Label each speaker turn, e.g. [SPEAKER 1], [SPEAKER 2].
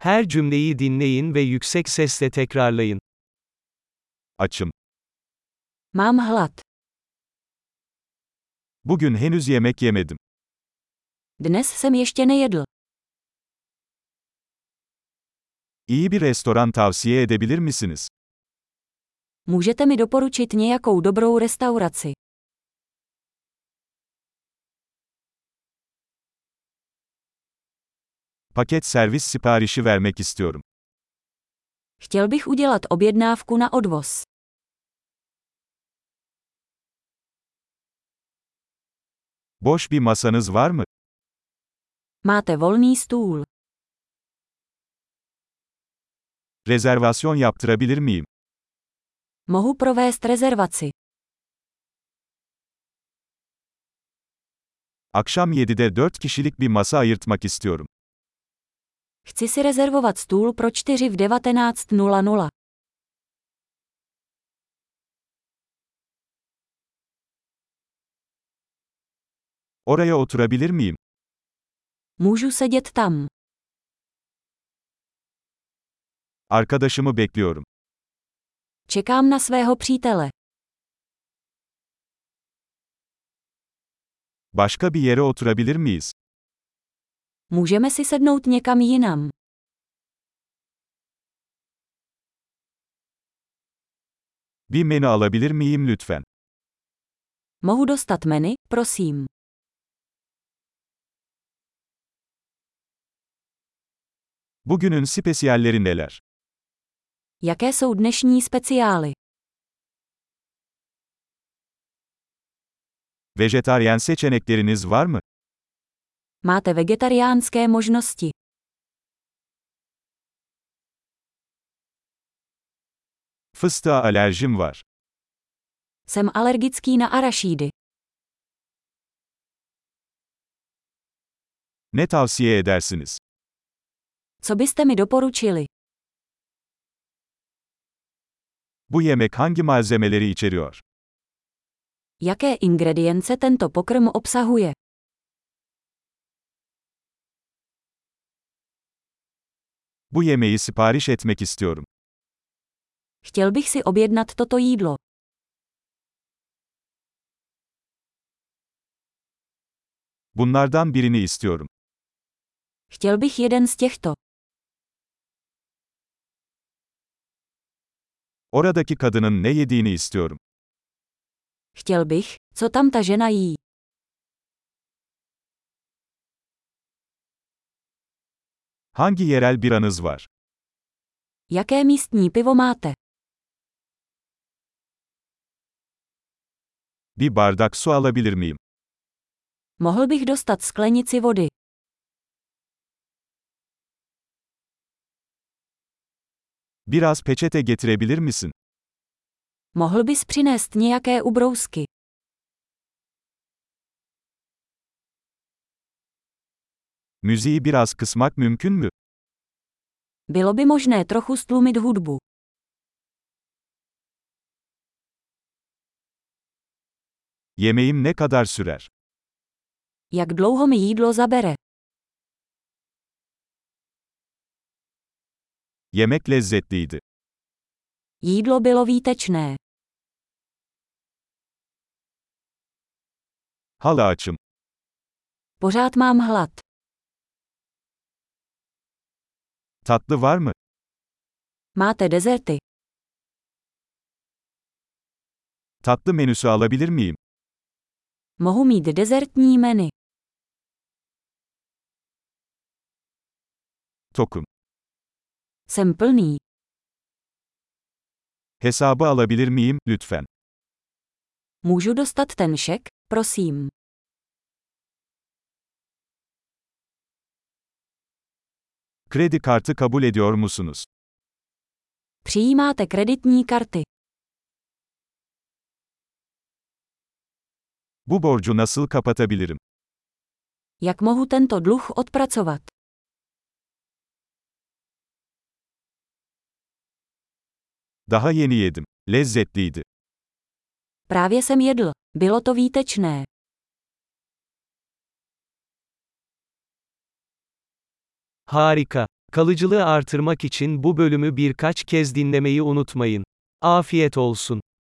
[SPEAKER 1] Her cümleyi dinleyin ve yüksek sesle tekrarlayın.
[SPEAKER 2] Açım.
[SPEAKER 3] Mám hlad.
[SPEAKER 2] Bugün henüz yemek yemedim.
[SPEAKER 3] Dnes jsem ještě nejedl.
[SPEAKER 2] İyi bir restoran tavsiye edebilir misiniz?
[SPEAKER 3] Můžete mi doporučit nějakou dobrou restauraci?
[SPEAKER 2] Paket servis siparişi vermek istiyorum.
[SPEAKER 3] Chtěl bych udělat objednávku na odvoz.
[SPEAKER 2] Boş bir masanız var mı?
[SPEAKER 3] Máte volný stůl.
[SPEAKER 2] Rezervasyon yaptırabilir miyim?
[SPEAKER 3] Mohu provést rezervaci.
[SPEAKER 2] Akşam 7'de 4 kişilik bir masa ayırtmak istiyorum.
[SPEAKER 3] Chci si rezervovat stůl pro 4 v 19.00.
[SPEAKER 2] Oraya oturabilir miyim?
[SPEAKER 3] Můžu sedět tam.
[SPEAKER 2] Arkadaşımı bekliyorum.
[SPEAKER 3] Čekám na svého přítele.
[SPEAKER 2] Başka bir yere oturabilir miyiz?
[SPEAKER 3] Můžeme si sednout někam jinam.
[SPEAKER 2] Bir menü alabilir miyim lütfen?
[SPEAKER 3] Mohu dostat menu, prosím.
[SPEAKER 2] Bugünün spesiyalleri neler?
[SPEAKER 3] Jaké jsou dnešní speciály?
[SPEAKER 2] Vejetaryen seçenekleriniz var mı?
[SPEAKER 3] Máte vegetariánské možnosti.
[SPEAKER 2] Fıstığa alerjim var.
[SPEAKER 3] Jsem alergický na arašídy.
[SPEAKER 2] Ne tavsiye edersiniz?
[SPEAKER 3] Co byste mi doporučili?
[SPEAKER 2] Bu yemek hangi malzemeleri içeriyor?
[SPEAKER 3] Jaké ingredience tento pokrm obsahuje?
[SPEAKER 2] Bu yemeği sipariş etmek istiyorum.
[SPEAKER 3] Chtěl bych si objednat toto jídlo.
[SPEAKER 2] Bunlardan birini istiyorum.
[SPEAKER 3] Chtěl bych jeden z těchto.
[SPEAKER 2] Oradaki kadının ne yediğini istiyorum.
[SPEAKER 3] Chtěl bych, co tam ta žena jí.
[SPEAKER 2] Hangi yerel biranız var?
[SPEAKER 3] Jaké místní pivo máte?
[SPEAKER 2] Bir bardak su alabilir miyim?
[SPEAKER 3] Mohl bych dostat sklenici vody.
[SPEAKER 2] Biraz peçete getirebilir misin?
[SPEAKER 3] Mohl bys přinést nějaké ubrousky.
[SPEAKER 2] Müziği biraz kısmak mümkün mü?
[SPEAKER 3] Bylo by možné trochu stlumit hudbu.
[SPEAKER 2] Yemeğim ne kadar sürer?
[SPEAKER 3] Jak dlouho mi jídlo zabere?
[SPEAKER 2] Yemek lezzetliydi.
[SPEAKER 3] Jídlo bylo výtečné.
[SPEAKER 2] Hala açım.
[SPEAKER 3] Pořád mám hlad.
[SPEAKER 2] Tatlı var mı?
[SPEAKER 3] Máte dezerty.
[SPEAKER 2] Tatlı menüsü alabilir miyim?
[SPEAKER 3] Mohu mít dezertní menu.
[SPEAKER 2] Tokum.
[SPEAKER 3] Jsem plný.
[SPEAKER 2] Hesabı alabilir miyim lütfen?
[SPEAKER 3] Můžu dostat ten šek, prosím.
[SPEAKER 2] Kredi kartı kabul ediyor musunuz?
[SPEAKER 3] Přijímáte kreditní karty.
[SPEAKER 2] Bu borcu nasıl kapatabilirim?
[SPEAKER 3] Jak mohu tento dluh odpracovat?
[SPEAKER 2] Daha yeni yedim. Lezzetliydi.
[SPEAKER 3] Právě jsem jedl. Bylo to výtečné.
[SPEAKER 1] Harika.
[SPEAKER 2] Kalıcılığı artırmak için bu bölümü birkaç kez dinlemeyi unutmayın. Afiyet olsun.